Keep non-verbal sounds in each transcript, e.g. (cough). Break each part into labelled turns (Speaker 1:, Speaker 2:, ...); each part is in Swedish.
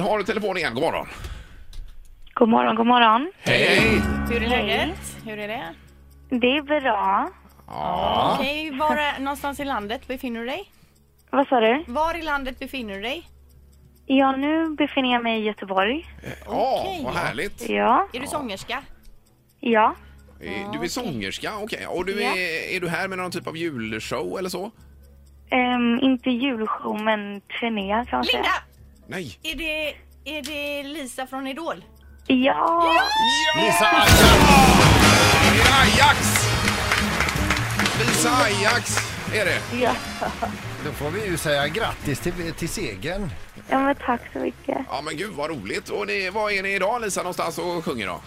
Speaker 1: har telefon igen. God morgon.
Speaker 2: God morgon, god morgon.
Speaker 1: Hej, hej.
Speaker 3: Hur är läget? Hur är det?
Speaker 2: Det är bra.
Speaker 1: Ja.
Speaker 3: Okej, var är, någonstans i landet befinner du dig?
Speaker 2: Vad sa du?
Speaker 3: Var i landet befinner du dig?
Speaker 2: Ja, nu befinner jag mig i Göteborg.
Speaker 1: ja,
Speaker 3: Okej.
Speaker 1: vad härligt.
Speaker 2: Ja,
Speaker 3: Är du sångerska?
Speaker 2: ja.
Speaker 1: Eh, Du är sångerska, okej. Och du är, är du här med någon typ av julshow eller så?
Speaker 2: Ehm, inte julshow, men turné kan man säga.
Speaker 3: Linda!
Speaker 1: Nej.
Speaker 3: Är det, är det Lisa från Idol?
Speaker 2: Ja!
Speaker 1: Lisa Ajax! Det är Ajax! Lisa Ajax är det.
Speaker 2: Ja.
Speaker 4: Då får vi ju säga grattis till, till segern.
Speaker 2: ja, men tack så mycket.
Speaker 1: Ja men gud vad roligt. Och ni, var är ni idag Lisa någonstans och sjunger då?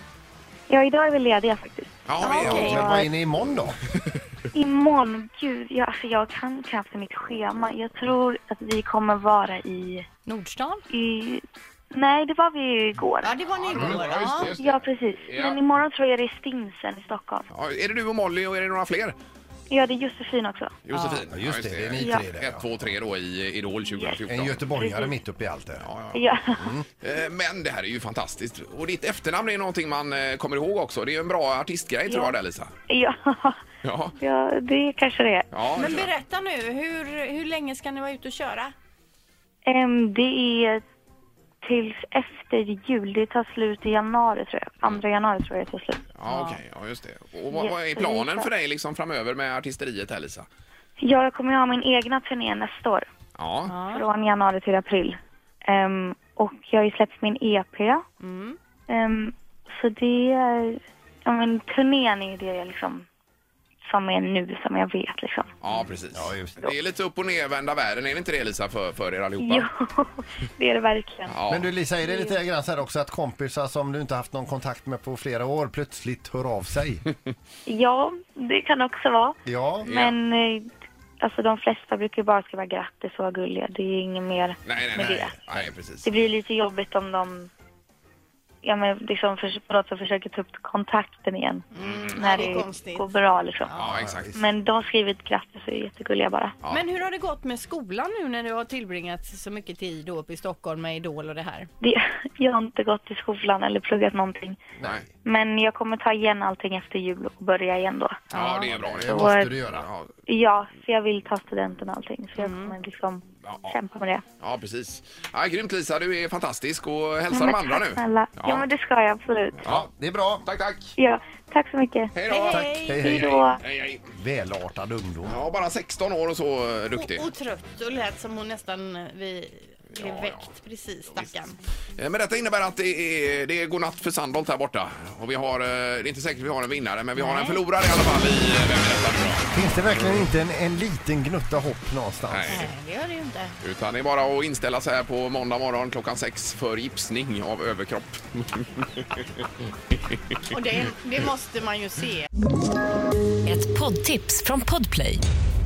Speaker 2: Ja, idag är vi lediga faktiskt.
Speaker 1: Ja, vi-
Speaker 3: okej.
Speaker 4: Men vad är ni imorgon då?
Speaker 2: Imorgon, gud, jag, alltså, jag kan knappt mitt schema. Jag tror att vi kommer vara i...
Speaker 3: Nordstan?
Speaker 2: i... Nej, det var vi ju igår.
Speaker 3: Ja, det var ni igår.
Speaker 1: Ja, just det,
Speaker 3: Ja.
Speaker 1: just det.
Speaker 2: Ja, precis.
Speaker 1: Ja.
Speaker 2: Men imorgon tror jag det är Stinsen i Stockholm.
Speaker 1: Ja, är det du och Molly och är det några fler?
Speaker 2: Ja, det är Josefin också.
Speaker 1: Josefin?
Speaker 4: Ja, just det, det är ni
Speaker 2: Ja.
Speaker 4: tre där.
Speaker 1: Ett,
Speaker 4: ja.
Speaker 1: två, tre då i Idol 2014.
Speaker 4: En göteborgare mitt uppe i allt det.
Speaker 1: Ja, ja.
Speaker 2: Ja,
Speaker 1: Eh, Men det här är ju fantastiskt. Och ditt efternamn är någonting man eh, kommer ihåg också. Det är ju en bra artistgrej tror
Speaker 2: Ja.
Speaker 1: jag där Lisa.
Speaker 2: (laughs) ja.
Speaker 1: Ja.
Speaker 2: ja det kanske det är.
Speaker 1: ja
Speaker 3: Men
Speaker 1: det tror jag.
Speaker 3: berätta nu, hur, hur länge ska ni vara ute och köra?
Speaker 2: Ehm, det är tills efter jul. Det tar slut i januari, tror jag. Andra januari tror jag det tar slut.
Speaker 1: ja, okej. ja, just det. Och vad, vad är
Speaker 2: Jättelika.
Speaker 1: planen för dig liksom framöver med artisteriet här Lisa?
Speaker 2: Ja, jag kommer ju ha min egna turné nästa år.
Speaker 1: Ja,
Speaker 2: Från januari till april. Ehm, och jag har ju släppt min EP. Ehm, så det är... Ja, men turnén är ju det jag liksom, som är nu, som jag vet. Liksom.
Speaker 1: ja precis.
Speaker 4: Ja, just det.
Speaker 1: Det är lite upp och nervända världen, är det inte det Lisa för, för er allihopa?
Speaker 2: (laughs) Jo, det är det verkligen.
Speaker 1: Ja. Mm.
Speaker 4: Men du Lisa, är det lite grann så här också att kompisar som du inte haft någon kontakt med på flera år plötsligt hör
Speaker 1: (laughs)
Speaker 4: av sig?
Speaker 2: Ja, det kan också vara.
Speaker 4: Ja,
Speaker 1: Mm.
Speaker 2: Men eh, alltså, de flesta brukar ju bara skriva grattis och vara gulliga. Det är inget mer
Speaker 1: Nej, nej,
Speaker 2: med
Speaker 1: nej.
Speaker 2: det.
Speaker 1: Nej, precis.
Speaker 2: Det blir lite jobbigt om de ja, men liksom för, på något sätt försöker ta upp kontakten igen. när
Speaker 3: det är
Speaker 2: det,
Speaker 3: konstigt.
Speaker 2: går bra liksom.
Speaker 1: Mm. Ja, exakt.
Speaker 2: Men de har skrivit grattis och är jättegulliga bara.
Speaker 1: Ja.
Speaker 3: Men hur har det gått med skolan nu när du har tillbringat så mycket tid då uppe i Stockholm med Idol och det här?
Speaker 2: Det, (laughs) jag har inte gått i skolan eller pluggat någonting.
Speaker 1: Nej.
Speaker 2: Men jag kommer ta igen allting efter jul och börja igen då.
Speaker 1: Ja, det är bra. Det
Speaker 4: det
Speaker 1: är...
Speaker 4: måste du göra.
Speaker 1: Ja,
Speaker 2: Ja, för jag vill ta studenten och allting. Så jag
Speaker 3: Mm.
Speaker 2: kommer liksom
Speaker 1: Ja, ja.
Speaker 2: kämpa med det.
Speaker 1: ja, precis. Ja, grymt Lisa, du är fantastisk och
Speaker 2: Ja,
Speaker 1: hälsa
Speaker 2: men
Speaker 1: de andra
Speaker 2: tack
Speaker 1: nu.
Speaker 2: snälla. Ja. men det ska jag absolut.
Speaker 1: Ja.
Speaker 4: det är bra.
Speaker 1: Tack, tack.
Speaker 2: Ja, tack så mycket.
Speaker 1: Hej då.
Speaker 4: Tack. Hej,
Speaker 2: Hej
Speaker 4: hej.
Speaker 2: då.
Speaker 1: Hej, hej.
Speaker 4: Välartad ungdom.
Speaker 1: Ja, bara 16 år och så eh, duktig.
Speaker 3: Och, och trött och lät som hon nästan eh, vi, blev
Speaker 1: Ja,
Speaker 3: väckt precis stackarn.
Speaker 1: Eh, Men detta innebär att det är, det är godnatt för Sandholt här borta. Och vi har, eh, det är inte säkert vi har en vinnare, men vi har en förlorare i alla fall i eh, Vem är detta nu då?
Speaker 4: Finns det verkligen inte en, en liten gnutta hopp någonstans?
Speaker 1: Nej.
Speaker 3: Nej, det gör det ju inte.
Speaker 1: Utan det är bara att inställa sig här på måndag morgon klockan sex för gipsning av överkropp.
Speaker 3: Och det, det måste man ju se.
Speaker 5: Ett poddtips från Podplay.